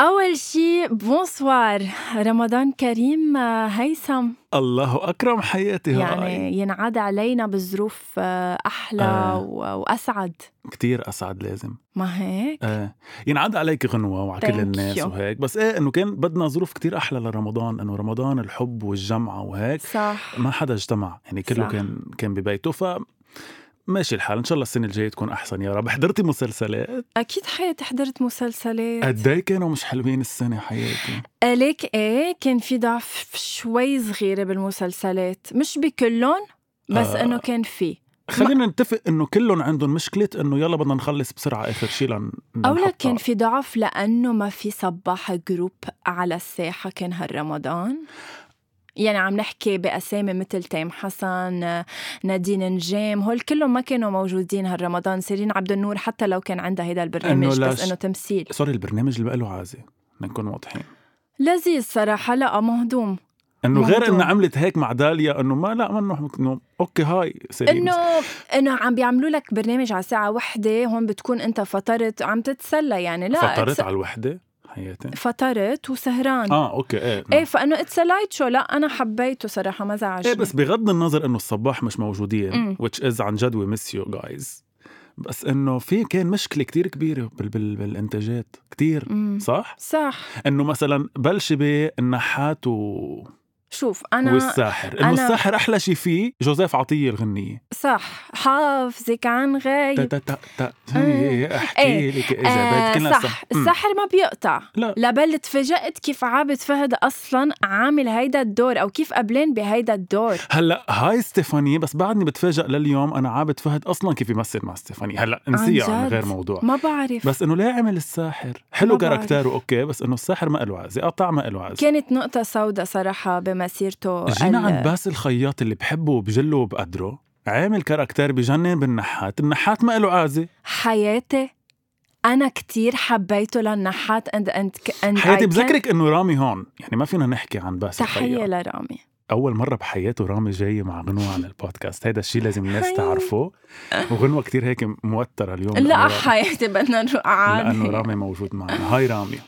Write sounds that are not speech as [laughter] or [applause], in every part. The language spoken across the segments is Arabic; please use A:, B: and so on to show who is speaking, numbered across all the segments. A: أول شي بونسوار رمضان كريم آه، هيثم
B: الله اكرم حياتي يعني
A: يعني ينعاد علينا بظروف آه، أحلى
B: آه.
A: و- وأسعد
B: كتير اسعد لازم
A: ما هيك؟
B: آه. ينعاد عليك غنوه وعلى كل
A: Thank
B: الناس
A: you.
B: وهيك بس ايه انه كان بدنا ظروف كتير احلى لرمضان انه رمضان الحب والجمعه وهيك
A: صح
B: ما حدا اجتمع يعني كله
A: صح.
B: صح. كان كان ببيته ف ماشي الحال ان شاء الله السنه الجايه تكون احسن يا رب [laughs] حضرتي مسلسلات
A: أكيد حياتي حضرت مسلسلات
B: قد إيه كانوا مش حلوين السنه حياتي
A: ليك ايه كان في ضعف شوي صغيرة بالمسلسلات مش بكلهم بس
B: آه.
A: انه كان في
B: خلينا نتفق انه كلهم عندهم مشكله انه يلا بدنا نخلص بسرعه اخر شيء لن
A: او
B: لنحطها.
A: لك كان في ضعف لانه ما في صباح جروب على الساحة كان هالرمضان يعني عم نحكي باسامي مثل تيم حسن نادين نجام هول كلهم ما كانوا موجودين هالرمضان سيرين عبد النور حتى لو كان عندها هيدا البرنامج
B: إنه
A: بس
B: لاش-
A: انه تمثيل
B: سوري البرنامج اللي بقى له عازه لنكون واضحين
A: لذيذ صراحة لا مهضوم
B: انه غير
A: ممتوم.
B: انها عملت هيك مع داليا انه ما لا منه انه اوكي هاي سليم
A: انه انه عم بيعملوا لك برنامج على ساعه واحدة هون بتكون انت فطرت عم تتسلى يعني لا إيه،
B: فطرت
A: اتس-
B: على الوحده حياتي
A: فطرت وسهران
B: اه اوكي ايه
A: ايه فانه اتس لايت شو لا انا حبيته صراحه ما زعجني
B: ايه بس بغض النظر انه الصباح مش
A: أمم.
B: موجودين which is عن جد وي miss you guys بس انه في كان مشكله كتير كبيره بال بال بالانتاجات كتير
A: مم.
B: صح؟
A: صح
B: انه مثلا بلش بالنحات و...
A: شوف انا
B: والساحر، انه
A: أنا-
B: الساحر احلى شيء فيه جوزيف عطيه الغنيه
A: صح حافظك عن
B: تا
A: غايب
B: تا تا تا
A: آه.
B: احكي لك اذا
A: أيوة. آه،
B: بدك كلها
A: صح
B: أمم.
A: السحر ما بيقطع
B: لا.
A: لبل تفاجأت كيف عابد فهد اصلا عامل هيدا الدور او كيف قبلان بهيدا الدور
B: هلا هاي ستيفاني بس بعدني بتفاجئ لليوم انا عابد فهد اصلا كيف يمثل مع ستيفاني هلا نسيها
A: عن
B: عن
A: جد.
B: غير موضوع
A: ما بعرف
B: بس انه ليه عمل الساحر حلو
A: ما بعرف.
B: كاركتره اوكي بس انه الساحر ما له عازي قطع ما له عازي
A: كانت نقطة سوداء صراحة بمسيرته
B: جينا
A: ال-
B: عند باس الخياط اللي بحبه وبجله وبقدره عامل كاركتر بجنن بالنحات النحات ما له عازي
A: حياتي أنا كتير حبيته للنحات and, and, and I
B: حياتي
A: can-
B: بذكرك انه رامي هون يعني ما فينا نحكي عن باس
A: تحية
B: الخياط
A: لرامي
B: اول مره بحياته رامي جاي مع غنوه على البودكاست هيدا الشيء لازم الناس
A: هاي.
B: تعرفه وغنوه كتير هيك موتره اليوم لأنه
A: لا
B: رامي-
A: حياتي بدنا نروح
B: لانه
A: عامي
B: رامي موجود معنا هاي رامي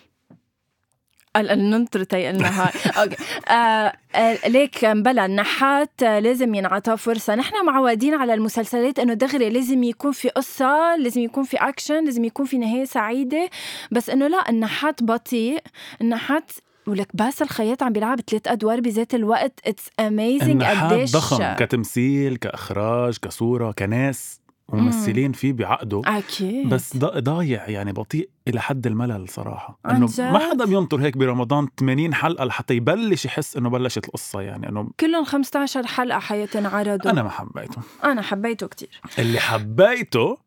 A: قال- قال ننطر تي لنا هاي اوكي آه، آه، ليك بلا النحات آه، لازم ينعطى فرصة نحن معودين على المسلسلات انه دغري لازم يكون في قصة لازم يكون في اكشن لازم يكون في نهاية سعيدة بس انه لا النحات بطيء النحات ولك باس الخياط عم بيلعب ثلاث ادوار بذات الوقت اتس اميزنج
B: النحات
A: قديش
B: ضخم كتمثيل كاخراج كصوره كناس ممثلين فيه بعقده
A: اكيد
B: بس ض- ضايع يعني بطيء الى حد الملل صراحه
A: عن
B: انه
A: جد؟
B: ما حدا بينطر هيك برمضان 80 حلقه لحتى يبلش يحس انه بلشت القصه يعني انه
A: كلهم 15 حلقة حياتي انعرضوا
B: انا
A: أنا,
B: ما حبيته
A: أنا حبيته كتير
B: اللي حبيته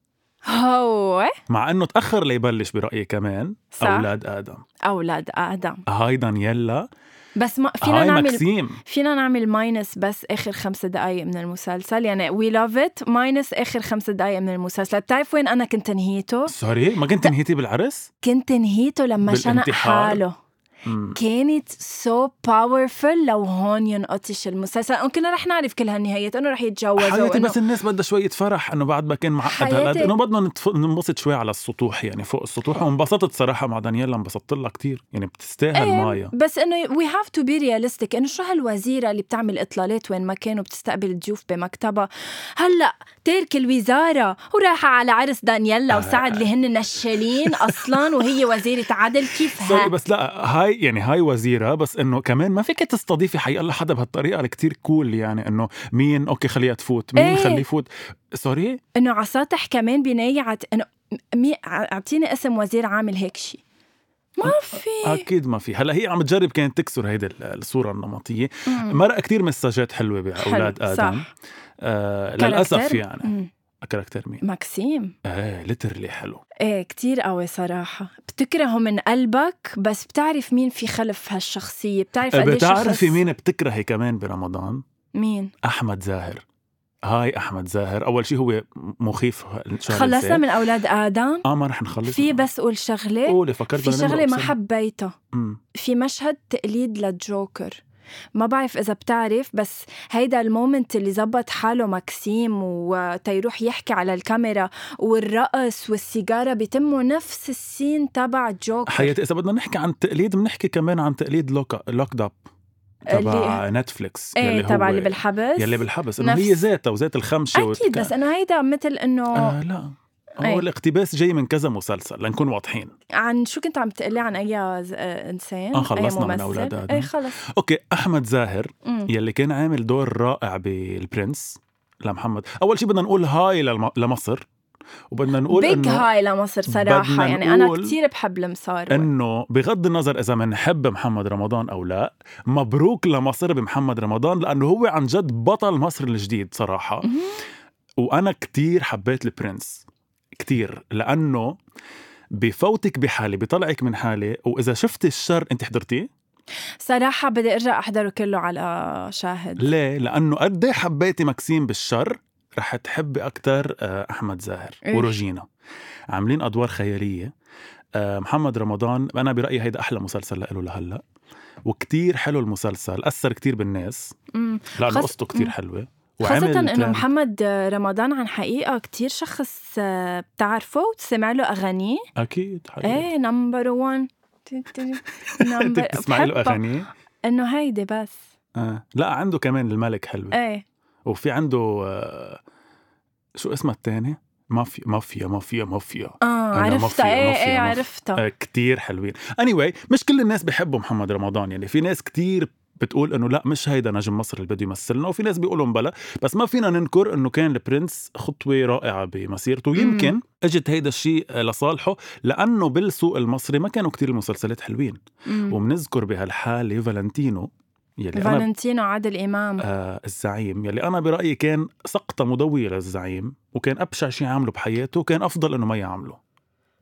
A: هو
B: مع انه تاخر ليبلش برايي كمان
A: صح.
B: اولاد ادم
A: أولاد آدم
B: هاي دانييلا
A: بس ما فينا
B: هاي
A: نعمل
B: ماكسيم
A: فينا نعمل ماينس بس اخر خمس دقائق من المسلسل يعني وي لاف ات ماينس اخر خمس دقائق من المسلسل بتعرف وين انا كنت نهيته
B: سوري ما كنت نهيتي بالعرس
A: كنت نهيته لما شنق
B: بالانتحار.
A: حاله
B: مم.
A: كانت سو باورفل لو هون ينقطش المسلسل إنه كنا رح نعرف كل هالنهايات انه رح يتجوزوا
B: حياتي
A: وإنه-
B: بس الناس بدها شوية فرح انه بعد ما كان معقد
A: حياتي-
B: هالقد انه بدنا نتف... ننبسط شوي على السطوح يعني فوق السطوح وانبسطت صراحة مع دانييلا انبسطت لها كتير يعني بتستاهل
A: إيه،
B: مايا
A: بس انه وي هاف تو بي رياليستيك انه شو هالوزيره اللي بتعمل اطلالات وين ما كانوا بتستقبل ضيوف بمكتبها هلا تارك الوزاره ورايحه على عرس دانييلا
B: آه.
A: وسعد اللي هن نشالين اصلا وهي وزيره عدل
B: سوري
A: كيفها
B: بس لا هاي يعني هاي وزيرة بس انه كمان ما فيك تستضيفي حقيقة لحدا بهالطريقة اللي كتير كول يعني انه مين اوكي خليها تفوت مين
A: إيه.
B: ايه. خليه يفوت سوري
A: انه على سطح كمان بنايه عت... انه مي... اعطيني اسم وزير عامل هيك شيء ما في
B: اكيد ما في هلا هي عم تجرب كانت تكسر هيدي ال- الصورة النمطية
A: مم.
B: مرق كتير مساجات حلوة باولاد
A: حلو،
B: ادم
A: صح.
B: آه للاسف
A: كاركتر-
B: يعني
A: مم.
B: كاركتر مين
A: ماكسيم
B: ايه لترلي حلو
A: ايه كتير قوي صراحة بتكرهه من قلبك بس بتعرف مين في خلف
B: إيه،
A: إيه هالشخصية بتعرف قديش شخص-
B: بتعرفي مين بتكرهي كمان برمضان؟
A: مين
B: احمد زاهر هاي احمد زاهر اول شيء هو مخيف شهر
A: خلصنا
B: الزيت.
A: من اولاد ادم
B: اه ما رح نخلص
A: في بس قول شغله
B: قولي فكرت
A: في
B: بدنا نعمل
A: شغله ما
B: episode.
A: حبيته
B: أمم.
A: في مشهد تقليد للجوكر ما بعرف إذا بتعرف بس هيدا المومنت اللي زبط حاله ماكسيم وتيروح يحكي على الكاميرا والرقص والسيجارة بيتموا نفس السين تبع جوكر
B: حياتي اذا بدنا نحكي عن تقليد بنحكي كمان عن تقليد لوك لوكد اب تبع نتفليكس
A: ايه
B: هو-
A: تبع اللي بالحبس
B: يلي بالحبس انه
A: نفس-
B: هي ذاتها وذات الخمشه
A: أكيد بس إنه هيدا مثل إنه
B: آه لا
A: إيه.
B: هو الاقتباس جاي من كذا مسلسل لنكون واضحين
A: عن شو كنت عم تقلي عن أي ز- آه، إنسان
B: آه، خلصنا
A: أي
B: من يعني
A: ممثل.
B: أولاد آدم.
A: إيه خلص
B: اوكي احمد زاهر
A: مم.
B: يلي كان عامل دور رائع بالبرنس لمحمد اول شيء بدنا نقول هاي للم... لمصر وبدنا نقول
A: بيج
B: انه
A: هاي لمصر صراحة
B: بدنا
A: يعني أنا
B: نقول
A: كتير بحب المصاري
B: انه بغض النظر اذا منحب محمد رمضان او لا مبروك لمصر بمحمد رمضان لانه هو عن جد بطل مصر الجديد صراحه
A: مهم.
B: وانا كتير حبيت البرنس كتير لانه بفوتك بحالي بطلعك من حالي واذا شفت الشر انت حضرتيه
A: صراحة بدي ارجع احضره كله على شاهد
B: ليه لانه قد إيه حبيتي مكسيم بالشر رح تحبي اكثر احمد زاهر
A: إيه.
B: وروجينا عاملين ادوار خياليه آه، محمد رمضان انا برايي هيدا احلى مسلسل له لهلا وكتير حلو المسلسل اثر كتير بالناس
A: مم.
B: لانه
A: خاص-
B: قصته كتير
A: مم.
B: حلوه
A: خاصة انه
B: ترند.
A: محمد رمضان عن حقيقة كتير شخص آه، بتعرفه وتسمع له اغانيه
B: اكيد حقيقي. [laughs]
A: ايه نمبر 1
B: انت [laughs]
A: نمبر
B: بتسمعي له اغاني
A: انه هيدي بس
B: آه. لا عنده كمان الملك حلوه
A: ايه
B: وفي عنده آه، شو اسمها الثاني مافيا مافيا مافيا مافيا
A: اه
B: أنا مافيا-
A: عرفتها ايه
B: مافيا-
A: ايه
B: مافيا.
A: عرفتها
B: آه، كتير حلوين anyway مش كل الناس بيحبوا محمد رمضان يعني في ناس كتير بتقول انه لا مش هيدا نجم مصر اللي بده يمثلنا وفي ناس بيقولوا بلا بس ما فينا ننكر انه كان البرنس خطوه رائعه بمسيرته ويمكن اجت هيدا الشيء آه، لصالحه لانه بالسوق المصري ما كانوا كتير المسلسلات حلوين
A: مم.
B: وبنذكر بهالحاله فالنتينو يلي انا
A: فالنتينو عادل امام
B: آه الزعيم يلي انا برايي كان سقطه مضويه للزعيم وكان ابشع شيء عمله بحياته وكان افضل انه ما يعمله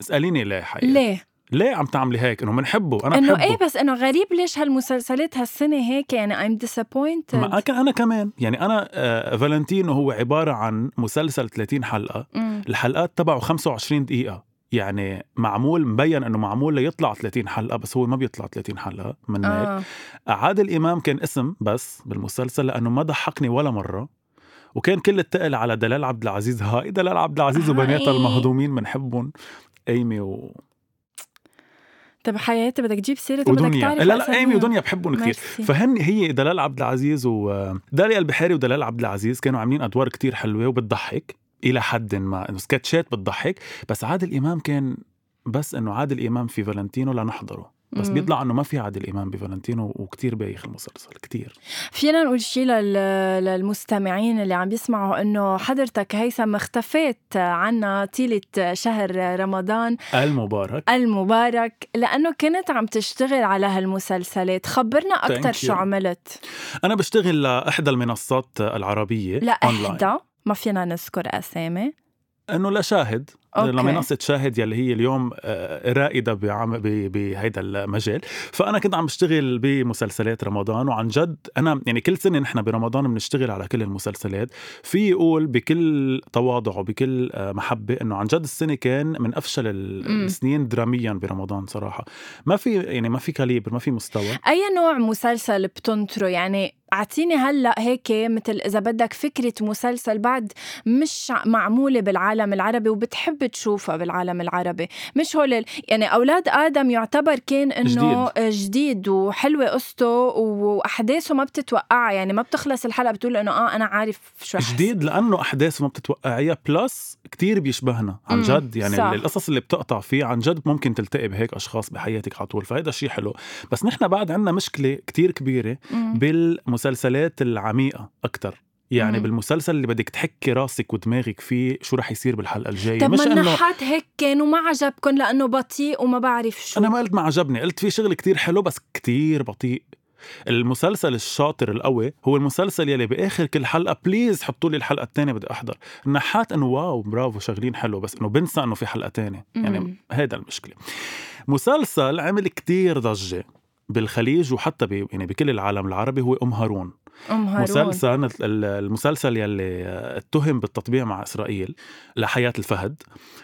B: اساليني ليه حقيقه
A: ليه؟
B: ليه عم تعملي هيك انه منحبه انا
A: انه
B: إيه. بحبه
A: ايه بس انه غريب ليش هالمسلسلات هالسنة هيك يعني I'm disappointed
B: ما أك- انا كمان يعني انا آه فالنتينو هو عباره عن مسلسل 30 حلقه
A: مم.
B: الحلقات تبعه 25 دقيقه يعني معمول مبين انه معمول ليطلع 30 حلقه بس هو ما بيطلع 30 حلقه من هيك
A: اه
B: عادل امام كان اسم بس بالمسلسل لانه ما ضحكني ولا مره وكان كل التقل على دلال عبد العزيز هاي دلال عبد العزيز
A: هاي.
B: وبناتها المهضومين بنحبهم ايمي و...
A: طب حياتي بدك تجيب سيرة بدك
B: ودنيا
A: تعرف
B: يعني. لا لا
A: أساميهم.
B: ايمي ودنيا بحبهم كثير
A: ميرسي.
B: فهن هي دلال عبد العزيز وداليا البحاري ودلال عبد العزيز كانوا عاملين ادوار كتير حلوه وبتضحك الى حد ما انه سكتشات بتضحك بس عادل امام كان بس انه عادل امام في فالنتينو لنحضره بس
A: مم.
B: بيطلع انه ما في عادل امام بفالنتينو وكتير بايخ المسلسل كتير
A: فينا نقول شيء لل- للمستمعين اللي عم يسمعوا انه حضرتك هيثم اختفيت عنا طيلة شهر رمضان
B: المبارك
A: المبارك لأنه كنت عم تشتغل على هالمسلسلات خبرنا أكثر
B: Thank
A: شو
B: you.
A: عملت
B: انا بشتغل لاحدى المنصات العربيه
A: لا
B: أونلاين.
A: إحدى ما فينا نذكر أسامي
B: انه لشاهد
A: أوكي.
B: لمنصه شاهد يلي هي اليوم آه، رائده بعم ب- بهيدا المجال فانا كنت عم بشتغل بمسلسلات رمضان وعن جد انا يعني كل سنه نحن برمضان بنشتغل على كل المسلسلات في يقول بكل تواضع وبكل آه، محبه انه عن جد السنه كان من افشل ال-
A: مم.
B: السنين دراميا برمضان صراحه ما في يعني ما في كاليبر ما في مستوى
A: أي نوع مسلسل بتنطره يعني اعطيني هلا هيك مثل اذا بدك فكره مسلسل بعد مش معموله بالعالم العربي وبتحب تشوفها بالعالم العربي مش هول ال- يعني اولاد ادم يعتبر كان انه جديد, جديد وحلوه قصته واحداثه ما بتتوقعها يعني ما بتخلص الحلقه بتقول انه اه انا عارف شو رح
B: جديد لانه احداثه ما بتتوقعيها بلس كتير بيشبهنا عن
A: مم،
B: جد يعني
A: صح.
B: صح. القصص اللي بتقطع فيه عن جد ممكن تلتقي بهيك اشخاص بحياتك على طول فهيدا شيء حلو بس نحن بعد عندنا مشكله كتير كبيره
A: يصير. مم.
B: بالمسلسلات العميقه اكثر يعني
A: مم.
B: مم. بالمسلسل اللي بدك تحكي راسك ودماغك فيه شو رح يصير بالحلقه الجايه
A: طب
B: يعني مش
A: ما
B: انه
A: النحات هيك كانوا ما عجبكم لانه بطيء وما بعرف شو
B: انا ما قلت ما عجبني قلت في شغل كتير حلو بس كتير بطيء المسلسل الشاطر القوي هو المسلسل يلي باخر كل حلقه بليز حطوا لي الحلقه الثانيه بدي احضر النحات انه واو برافو شغلين حلو بس انه بنسى انه في حلقه ثانيه
A: مم.
B: يعني هيدا المشكله مسلسل عمل كتير ضجه بالخليج وحتى ب... يعني بكل العالم العربي هو ام هارون
A: ام هارون
B: مسلسل ال- المسلسل يلي اتهم بالتطبيع مع اسرائيل لحياه الفهد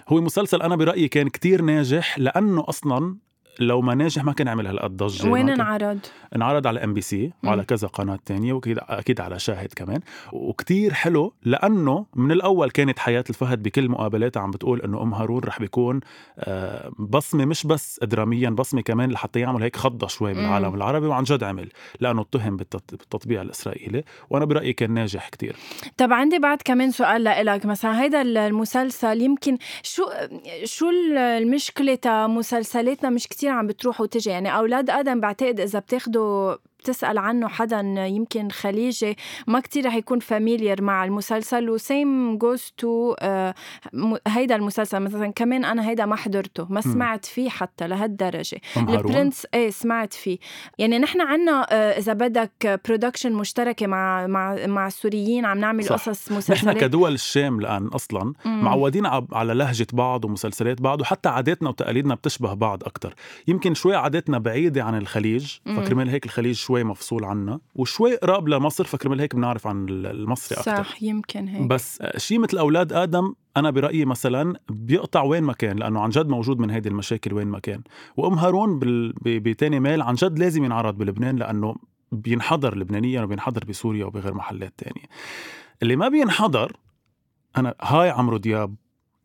B: هو مسلسل انا برايي كان كتير ناجح لانه اصلا لو ما ناجح ما كان عمل هالقد ضجه
A: وين
B: ما كان-
A: انعرض؟
B: انعرض على ام بي سي وعلى
A: مم.
B: كذا قناه تانية واكيد اكيد على شاهد كمان وكتير حلو لانه من الاول كانت حياه الفهد بكل مقابلاتها عم بتقول انه ام هارون رح بيكون آه، بصمه مش بس دراميا بصمه كمان لحتى يعمل هيك خضه شوي
A: مم.
B: بالعالم العربي وعن جد عمل لانه اتهم بالتط- بالتطبيع الاسرائيلي وانا برايي كان ناجح كتير
A: طب عندي بعد كمان سؤال لإلك مثلا هيدا المسلسل يمكن شو شو المشكلة تا مسلسلاتنا مش كتير عم بتروح وتجي يعني أولاد آدم بعتقد إذا بتاخده بتسأل عنه حدا يمكن خليجي ما كتير رح يكون فاميليير مع المسلسل وسيم جوز تو آه، هيدا المسلسل مثلا كمان أنا هيدا ما حضرته ما سمعت فيه حتى لهالدرجة
B: ام هارون
A: البرنس ايه سمعت فيه يعني نحن عنا آه، اذا بدك برودكشن مشتركه مع مع مع السوريين عم نعمل
B: صح.
A: قصص
B: نحن
A: مسلسلات
B: كدول الشام الان اصلا
A: مم.
B: معودين عب- على لهجة بعض ومسلسلات بعض وحتى عاداتنا وتقاليدنا بتشبه بعض أكتر يمكن شوي عاداتنا بعيدة عن الخليج
A: مم.
B: فكرمال هيك الخليج شوي مفصول عنا وشوي قراب لمصر فكرمال هيك بنعرف عن ال- المصري أكتر
A: صح يمكن هيك
B: بس شيء مثل أولاد آدم أنا برأيي مثلا بيقطع وين ما كان لأنه عن جد موجود من هيدي المشاكل وين ما كان وأم هارون بال- ب- بتاني مال عن جد لازم ينعرض بلبنان لأنه بينحضر لبنانيا وبينحضر بسوريا وبغير محلات تانية اللي ما بينحضر أنا هاي عمرو دياب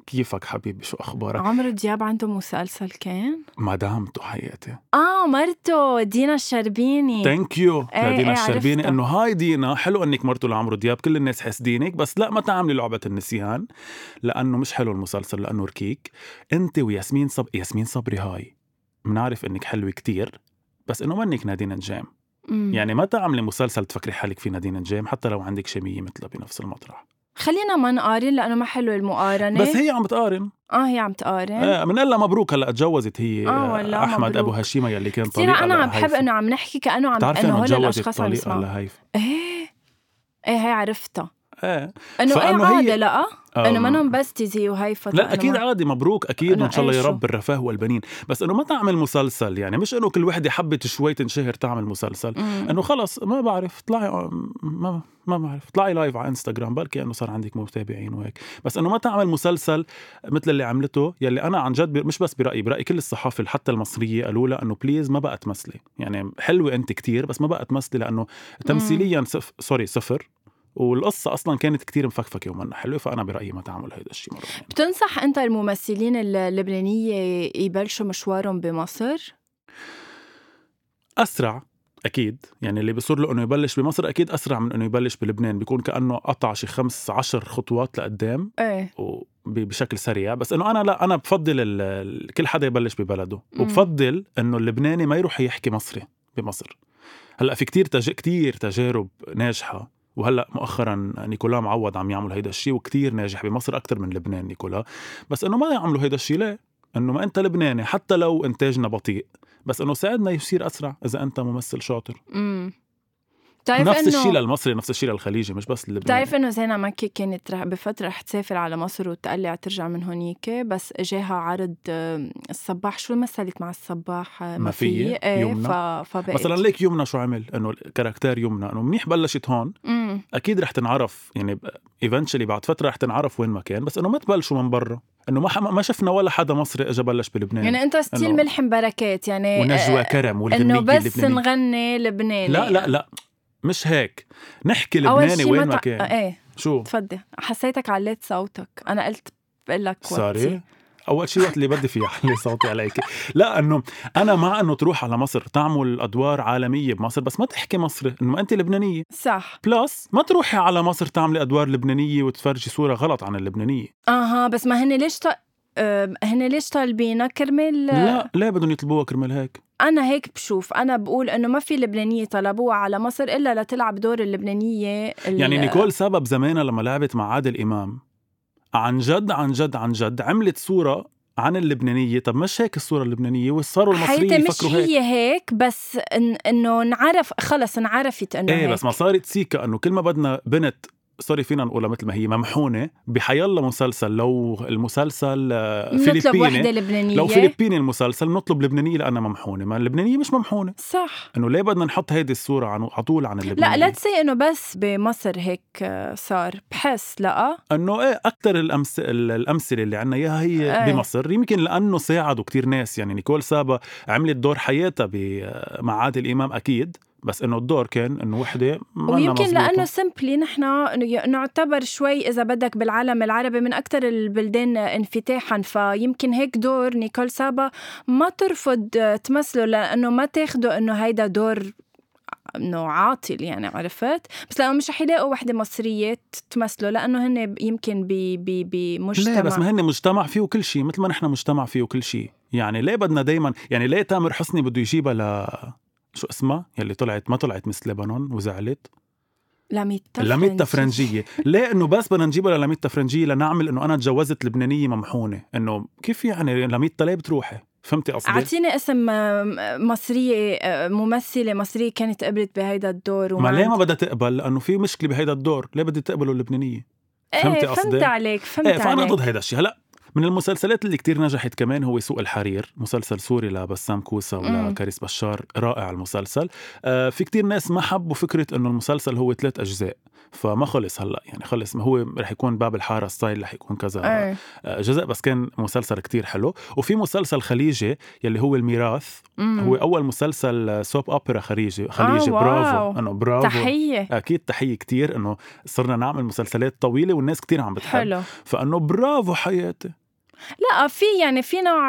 B: كيفك حبيبي شو أخبارك
A: عمرو دياب عنده مسلسل كان
B: مدامته حياتي
A: اه مرته دينا الشربيني
B: ثانك يو
A: إيه، إيه،
B: لدينا الشربيني
A: عرفتها.
B: انه هاي دينا حلو انك مرته لعمرو دياب كل الناس حاسدينك بس لا ما تعملي لعبه النسيان لانه مش حلو المسلسل لانه ركيك انت وياسمين صب ياسمين صبري هاي بنعرف انك حلوه كتير بس انه منك نادين نجام
A: مم.
B: يعني ما تعملي مسلسل تفكري حالك فيه نادين نجام حتى لو عندك شاميه مثلها بنفس المطرح
A: خلينا ما نقارن لانه ما حلو المقارنه
B: بس هي عم بتقارن
A: اه هي عم تقارن
B: آه بنقول لها مبروك هلا اتجوزت هي
A: آه، والله
B: احمد
A: مبروك.
B: ابو هشيمه يلي كان
A: كثير
B: طليقها
A: انا عم بحب
B: لهيفا.
A: انه عم نحكي كانه عم
B: بتعرفي
A: انه
B: انه
A: هول
B: تجوزت
A: الاشخاص عم
B: طليقها
A: يسمعوا
B: لهيفا
A: ايه ايه هي عرفتها
B: ايه
A: انه ايه
B: فإنه هي-
A: عادي لا انه
B: أم،
A: منهم بس زي وهيفا
B: لا اكيد عادي مبروك اكيد
A: أنا
B: وان شاء الله يا
A: عايشة.
B: رب الرفاه والبنين بس انه ما تعمل مسلسل يعني مش انه كل وحده حبت شوي تنشهر تعمل مسلسل انه خلص ما بعرف طلعي ما ما بعرف طلعي لايف على انستغرام بركي انه صار عندك متابعين وهيك بس انه ما تعمل مسلسل مثل اللي عملته يلي انا عن جد ب- مش بس برايي برايي كل الصحافه حتى المصريه قالوا لها انه بليز ما بقى تمثلي يعني حلوه انت كتير بس ما بقى تمثلي لانه تمثيليا صف... سوري صفر والقصة أصلا كانت كتير مفكفكة ومنا حلوة فأنا برأيي ما تعمل هيدا الشيء مرة يعني.
A: بتنصح انت الممثلين اللبنانيه يبلشوا مشوارهم بمصر
B: اسرع اكيد يعني اللي بيصير له انه يبلش بمصر اكيد اسرع من انه يبلش بلبنان بيكون كانه قطع شي خمس عشر خطوات لقدام
A: ايه
B: وب- بشكل سريع بس انه انا لا انا بفضل ال- ال- كل حدا يبلش ببلده
A: مم.
B: وبفضل انه اللبناني ما يروح يحكي مصري بمصر هلا في كتير تج... كتير تجارب ناجحه وهلا مؤخرا نيكولا معوض عم يعمل هيدا الشيء وكتير ناجح بمصر اكثر من لبنان نيكولا بس انه ما يعملوا هيدا الشيء ليه انه ما انت لبناني حتى لو انتاجنا بطيء بس انه ساعدنا يصير اسرع اذا انت ممثل شاطر
A: امم بتعرف
B: نفس الشيء
A: انه
B: للمصري نفس الشيء للخليجي مش بس للبناني
A: بتعرف انه زينة مكي كانت رح بفترة رح تسافر على مصر وتقلع ترجع من هونيك بس اجاها عرض آم، الصباح شو مثلت مع الصباح آه،
B: ما
A: ما
B: فيي،
A: في ايه
B: يمنى.
A: ف... فبقت
B: مثلا ليك يمنى شو عمل انه كاركتير يمنى انه منيح بلشت هون
A: مم.
B: اكيد رح تنعرف يعني ايفنتشلي بعد فتره رح تنعرف وين ما كان بس انه ما تبلشوا من برا انه ما ح- ما شفنا ولا حدا مصري اجى بلش بلبنان يعني
A: يعني انت ستيل
B: إنه-
A: ملحم بركات يعني
B: ونجوى
A: آه،
B: كرم والغنيه
A: انه بس
B: اللبنانيه
A: نغني لبناني
B: لا لا لا مش هيك نحكي
A: اول
B: لبناني
A: شيء
B: وين ما
A: ما تع-
B: كان
A: ايه
B: شو
A: تفضل حسيتك عليت صوتك انا قلت بقول لك
B: سوري اول شيء وقت اللي بدي فيه احلي صوتي عليك لا انه انا مع انه تروح على مصر تعمل ادوار عالميه بمصر بس ما تحكي مصري انه انت لبنانيه
A: صح
B: بلس ما تروحي على مصر تعملي ادوار لبنانيه وتفرجي صوره غلط عن اللبنانيه
A: اها بس ما هن ليش ط... آه، هن ليش طالبينها كرمال
B: لا ليه بدهم يطلبوها كرمال هيك
A: انا هيك بشوف انا بقول انه ما في لبنانيه طلبوها على مصر الا لتلعب دور اللبنانيه ال-
B: يعني نيكول سبب زمانها لما لعبت مع عادل امام عن جد عن جد عن جد عملت صوره عن اللبنانيه طب مش هيك الصوره اللبنانيه وصاروا المصريين
A: حياتي مش
B: يفكروا هيك
A: هي هيك بس إن- انه انعرف خلص انعرفت انه
B: ايه
A: هيك.
B: بس ما صارت سيكا انه كل ما بدنا بنت سوري فينا نقولها مثل ما هي ممحونه بحيالله مسلسل لو المسلسل آه،
A: نطلب وحده
B: فلبيني
A: لبنانيه
B: لو فلبيني المسلسل نطلب لبنانيه لانها ممحونه ما اللبنانيه مش ممحونه
A: صح
B: انه ليه بدنا نحط هيدي الصوره عن على طول عن اللبنانيه
A: لا لا تسي انه بس بمصر هيك آه، صار بحس لا
B: انه ايه اكثر الأمس... ال- الامثله اللي عنا اياها هي
A: إيه.
B: بمصر يمكن لانه ساعدوا كتير ناس يعني نيكول سابا عملت دور حياتها ب- مع عادل امام اكيد بس انه الدور كان انه وحده ما
A: ويمكن لانه سمبلي نحن ي- نعتبر شوي اذا بدك بالعالم العربي من اكثر البلدان انفتاحا فيمكن هيك دور نيكول سابا ما ترفض آه، تمثله لانه ما تاخده انه هيدا دور انه عاطل يعني عرفت بس لانه مش رح يلاقوا وحده مصريه تمثله لانه هن يمكن ب- ب-
B: لا بس
A: بمجتمع
B: ما هن مجتمع فيه كل شيء مثل ما نحن مجتمع فيه كل شيء يعني ليه بدنا دايما يعني ليه تامر حسني بده يجيبها ل شو اسمها يلي طلعت ما طلعت مس لبنان وزعلت
A: لاميتا
B: لاميتا
A: فرنسي.
B: فرنجيه ليه انه بس بدنا نجيبها للاميتا فرنجيه لنعمل انه انا تجوزت لبنانيه ممحونه انه كيف يعني لاميتا ليه بتروحي فهمتي قصدي
A: اعطيني اسم آه، مصريه آه، ممثله مصريه كانت قبلت بهيدا الدور
B: ما ليه
A: وعندها
B: ما بدها تقبل لانه في مشكله بهيدا الدور ليه بدها تقبله اللبنانيه فهمتي
A: ايه فهمت
B: قصدي؟
A: عليك فهمت
B: ايه فانا
A: عليك
B: ضد هيدا الشيء هلا من المسلسلات اللي كتير نجحت كمان هو سوق الحرير مسلسل سوري لبسام كوسا
A: مم.
B: ولكاريس بشار رائع المسلسل آه في كتير ناس ما حبوا فكرة انه المسلسل هو ثلاث اجزاء فما خلص هلا يعني خلص هو رح يكون باب الحارة ستايل رح يكون كذا
A: ايه
B: آه، جزء بس كان مسلسل كتير حلو وفي مسلسل خليجي يلي هو الميراث
A: مم. آه،
B: هو اول مسلسل سوب اوبرا خليجي خليجي
A: واو.
B: برافو انه برافو
A: تحيه
B: اكيد تحيه كتير انه صرنا نعمل مسلسلات طويله والناس كتير عم بتحب
A: حلو
B: فانه برافو حياتي
A: لا في يعني في نوع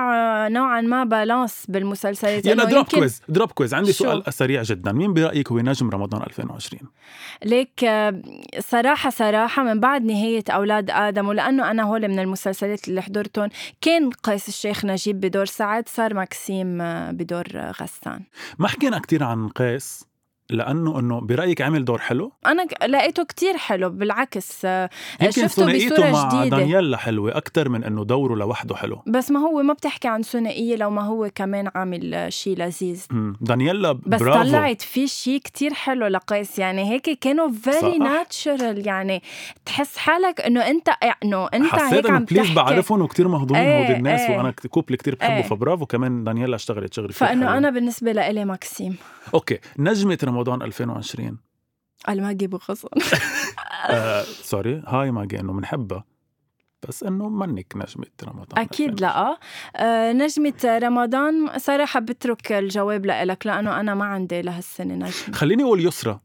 A: نوعا ما بالانس بالمسلسلات
B: يلا
A: إنه
B: دروب
A: يمكن-
B: كويز دروب كويز عندي
A: شو؟
B: سؤال سريع جدا مين برايك هو نجم رمضان 2020
A: ليك آه، صراحة صراحة من بعد نهاية أولاد آدم ولأنه أنا هول من المسلسلات اللي حضرتهم كان قيس الشيخ نجيب بدور سعد صار مكسيم آه، بدور آه، غسان
B: ما حكينا كتير عن قيس لانه انه برايك عمل دور حلو
A: أنا ك- لقيته كتير حلو بالعكس آه،
B: يمكن
A: شفته بصورة
B: ثنائيته مع
A: جديدة.
B: دانييلا حلوه اكثر من انه دوره لوحده حلو
A: بس ما هو ما بتحكي عن ثنائية لو ما هو كمان عامل آه، شي لذيذ
B: مم. دانييلا
A: بس
B: برافو
A: طلعت في شيء كتير حلو لقيس يعني هيك كانوا فيري
B: صح.
A: ناتشرال يعني تحس حالك انه انت انه انت
B: حسيت
A: هيك
B: انه
A: عم
B: بليز
A: تحكي
B: بعرفهم وكتير مهضومين
A: إيه،
B: هودي الناس
A: إيه.
B: وانا كوبل كتير بحبه
A: إيه.
B: فبرافو كمان دانييلا اشتغلت شغل كتير
A: فانه
B: حلو.
A: انا بالنسبه لإلي ماكسيم
B: اوكي نجمه رمضان 2020
A: الماجي بغصن
B: آه، سوري هاي ماجي انه بنحبها بس انه منك نجمه رمضان
A: اكيد
B: 2020.
A: لا آه، نجمه رمضان صراحه بترك الجواب لإلك لانه انا ما عندي لهالسنه نجمه
B: خليني اقول يسرى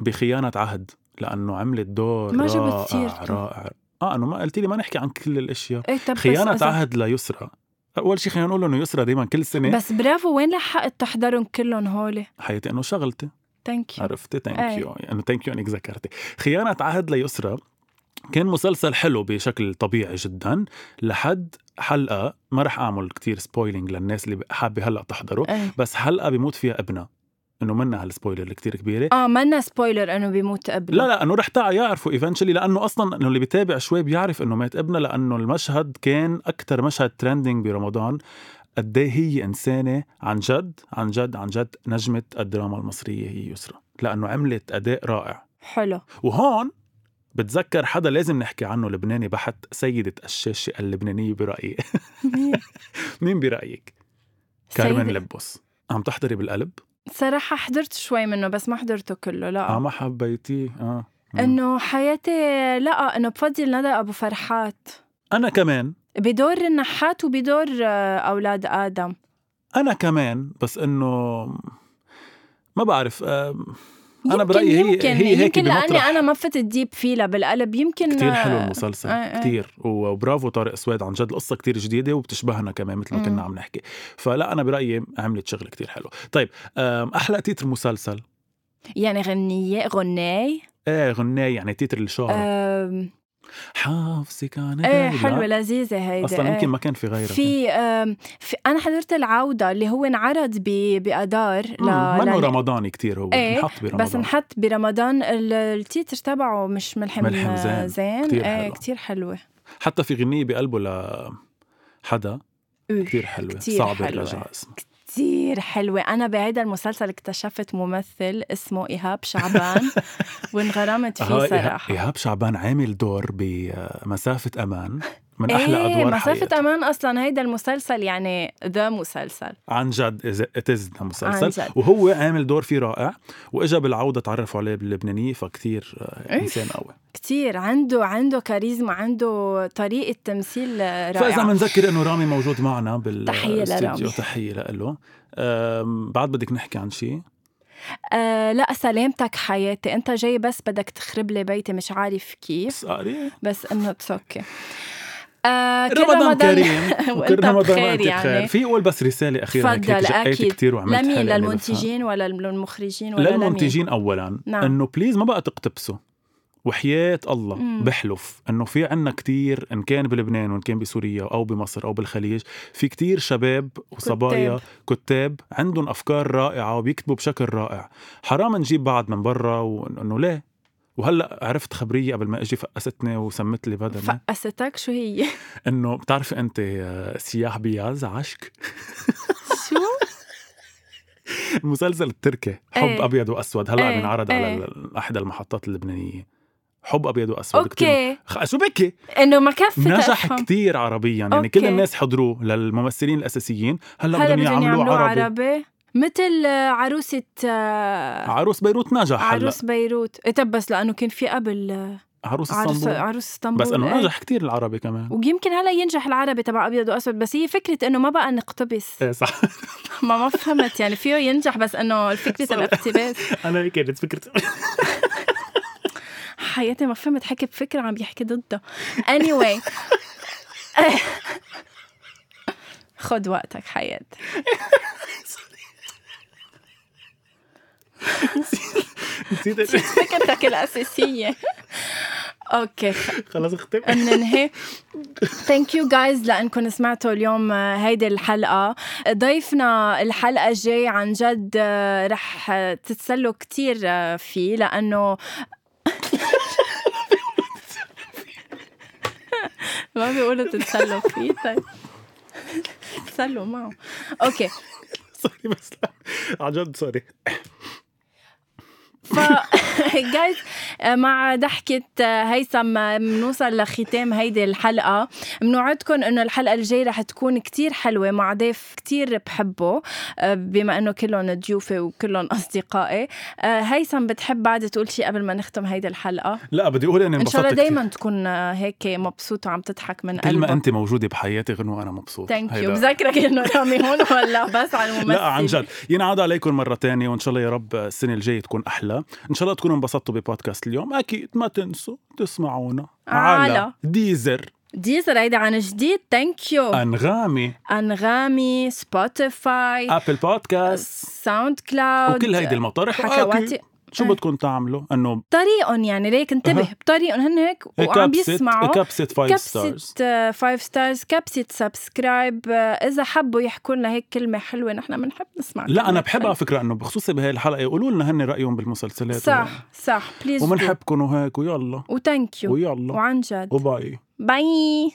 B: بخيانه عهد لانه عملت دور
A: ما جبت
B: رائع
A: سيرته.
B: رائع اه انه ما قلتي لي ما نحكي عن كل الاشياء
A: إيه طب بس
B: خيانه
A: إذا-
B: عهد ليسرى اول شيء خلينا نقول انه يسرى دائما كل سنه
A: بس برافو وين لحقت تحضرهم كلهم هول
B: حياتي انه شغلتي
A: ثانك يو
B: عرفتي ثانك
A: إيه.
B: يو انه ثانك يو انك ذكرتي خيانه عهد ليسرى كان مسلسل حلو بشكل طبيعي جدا لحد حلقه ما رح اعمل كتير سبويلينج للناس اللي حابه هلا تحضره
A: إيه.
B: بس حلقه بيموت فيها ابنها انه منها هالسبويلر اللي كتير كبيره
A: اه منا سبويلر انه بيموت قبل
B: لا لا انه رح تقع يعرفوا ايفنشلي لانه اصلا انه اللي بيتابع شوي بيعرف انه مات ابنها لانه المشهد كان اكثر مشهد ترندنج برمضان قد إيه هي انسانه عن جد عن جد عن جد نجمه الدراما المصريه هي يسرا لانه عملت اداء رائع
A: حلو
B: وهون بتذكر حدا لازم نحكي عنه لبناني بحت سيدة الشاشة اللبنانية برأيي [laughs]
A: [laughs]
B: مين برأيك؟ كارمن
A: سيدة.
B: لبوس عم تحضري بالقلب؟
A: صراحة حضرت شوي منه بس ما حضرته كله
B: اه
A: لا
B: ما حبيتيه اه مم.
A: انه حياتي لا انه بفضل ندى ابو فرحات
B: انا كمان
A: بدور النحات وبدور آه، اولاد ادم
B: انا كمان بس انه ما بعرف آه، أنا
A: يمكن-
B: برأيي هي-
A: يمكن
B: هي هيك
A: يمكن لاني
B: بمطرح.
A: انا ما فتت ديب فيلا بالقلب يمكن
B: كتير حلو
A: آه،
B: المسلسل
A: آه، آه.
B: كتير وبرافو طارق سويد عن جد القصة كتير جديدة وبتشبهنا كمان مثل ما
A: مم.
B: كنا عم نحكي فلا أنا برأيي عملت شغل كتير حلو طيب آم، أحلى تيتر مسلسل
A: يعني غنية غناي
B: ايه غناي يعني تيتر الشهرة
A: آم،
B: حافظك عن
A: ايه
B: غيرها.
A: حلوة لذيذة هيدا
B: اصلا
A: إيه.
B: يمكن ما كان في غيرها
A: في, آم، في انا حضرت العودة اللي هو انعرض ب- بأدار ل-
B: مم، منه
A: لن-
B: رمضاني كتير هو
A: إيه،
B: انحط برمضان
A: بس انحط برمضان ال- التيتر تبعه مش ملحم,
B: ملحم زين.
A: زين
B: كتير
A: ايه
B: حلو.
A: كتير حلوة
B: حتى في غنية بقلبه لحدا
A: أوه،
B: كتير حلوة
A: كتير
B: صعب
A: حلوة.
B: ارجع اسمها
A: كتير حلوة أنا بهيدا المسلسل اكتشفت ممثل اسمه إيهاب شعبان
B: [laughs]
A: وانغرمت فيه
B: هاي إيها-
A: صراحة
B: إيهاب شعبان عامل دور بمسافة أمان من أحلى
A: ايه
B: أدوار
A: مسافة
B: حقيقة.
A: أمان أصلا هيدا المسلسل يعني ذا مسلسل
B: عن جد اتزنا مسلسل
A: عن جد.
B: وهو عامل دور فيه رائع واجا بالعوده تعرفوا عليه باللبنانيه فكتير آه،
A: إيه.
B: انسان قوي
A: كتير عنده عنده كاريزما عنده طريقة تمثيل
B: فاذا
A: رائعة
B: بنذكر انه رامي موجود معنا بال
A: تحية
B: استوديو.
A: لرامي.
B: تحيه له بعد بدك نحكي عن شيء
A: آه لا سلامتك حياتي أنت جاي بس بدك تخرب لي بيتي مش عارف كيف
B: بس قاري
A: بس إنه تسكي آه كل
B: رمضان
A: [laughs]
B: كريم
A: وأنت بخير يعني
B: في اقول بس رساله اخيره هيك
A: تفضل،
B: جقيت
A: أكيد.
B: كثير وعملت
A: لمين
B: حالي إني
A: للمنتجين ولا للمخرجين
B: بفهم.
A: ولا لمين؟
B: للمنتجين اولا
A: نعم.
B: انه بليز ما بقى تقتبسوا وحياة الله
A: مم.
B: بحلف انه في عنا كتير ان كان بلبنان وان كان بسوريا او بمصر او بالخليج في كتير شباب وصبايا كتاب عندهم افكار رائعه وبيكتبوا بشكل رائع حرام نجيب بعض من برا وانه ليه وهلا عرفت خبريه قبل ما اجي فقستني وسمت لي بدني
A: فقستك شو هي؟
B: انه بتعرفي انت آه، سياح بياز عشق
A: شو؟
B: [laughs] المسلسل التركي حب
A: إيه.
B: ايه. ابيض واسود هلا عم
A: إيه،
B: ينعرض
A: إيه.
B: على ال- احدى المحطات اللبنانيه حب ابيض واسود كتير-
A: اوكي
B: خ- شو بكي
A: انه ما كفي
B: نجح
A: تفهم.
B: كتير عربيا يعني
A: أوكي.
B: كل الناس حضروه للممثلين الاساسيين هلا بدهم يعملوه عربي. عربي
A: عربي مثل آه، عروسة آه،
B: عروس بيروت نجح هلا
A: عروس بيروت إيه، طب بس لأنه كان في قبل آه،
B: عروس
A: عروس
B: اسطنبول
A: عروس اسطنبول
B: بس انه
A: إيه.
B: نجح كتير العربي كمان
A: ويمكن هلا ينجح العربي تبع ابيض واسود بس هي فكره انه ما بقى نقتبس
B: ايه [laughs] صح
A: [laughs] ما ما فهمت يعني فيه ينجح بس انه فكره
B: صح.
A: الاقتباس
B: انا هيك كانت فكرتي
A: حياتي ما فهمت حكي بفكرة عم يحكي ضدها anyway [laughs] خد وقتك حياتي
B: [laughs] نسيت
A: فكرتك الأساسية اوكي
B: خلص اختم [laughs]
A: بننهي ثانك يو جايز لانكم سمعتوا اليوم آه، هيدي الحلقه ضيفنا الحلقه الجاي عن جد آه، رح آه، تتسلوا كتير آه، فيه لانه [laughs] ما بيقولوا تتسلوا فيه طيب تسلوا معه اوكي
B: سوري بس لا. عن جد سوري
A: ف [laughs] جايز مع ضحكة آه، هيثم بنوصل لختام هيدي الحلقة بنوعدكم انه الحلقة الجاي رح تكون كتير حلوة مع ضيف كتير بحبه آه، بما انه كلهم ضيوفي وكلهم اصدقائي آه، هيثم بتحب بعد تقول شيء قبل ما نختم هيدي الحلقة
B: لا بدي اقول اني
A: ان شاء
B: انبسطت
A: الله
B: كتير.
A: دايما تكون آه، هيك مبسوط وعم تضحك من
B: كل ما
A: قلبك
B: انت موجوده بحياتي غنوه انا مبسوط
A: ثانك يو
B: هيدا-
A: بذكرك انه رامي هون ولا بس على الممثل
B: لا عن جد ينعاد عليكم مره تانية وان شاء الله يا رب السنه الجايه تكون احلى ان شاء الله تكونوا انبسطتوا ببودكاست اليوم اكيد ما تنسوا تسمعونا
A: على
B: على ديزر
A: ديزر هيدا عن جديد ثانك يو
B: انغامي
A: انغامي سبوتيفاي
B: ابل بودكاست
A: ساوند كلاود
B: وكل هيدي المطارح
A: آه، حكواتي
B: وأكيد شو
A: إيه.
B: بدكم تعملوا انه
A: طريقهم يعني ليك انتبه
B: أها.
A: بطريقهم هن هيك وعم بيسمعوا
B: كبسه 5
A: كبسة
B: ستارز
A: آه، فايف ستارز كبسة سبسكرايب آه، إذا حبوا يحكوا لنا هيك كلمة حلوة نحن بنحب نسمع
B: لا انا
A: كلمات
B: بحب على فكره انه بخصوصي بهي الحلقه يقولوا لنا هن رايهم
A: حلوة.
B: بالمسلسلات
A: صح صح بليز
B: ومنحبكم وهيك ويلا
A: وثانك يو
B: ويلا
A: وعن جد
B: وباي
A: باي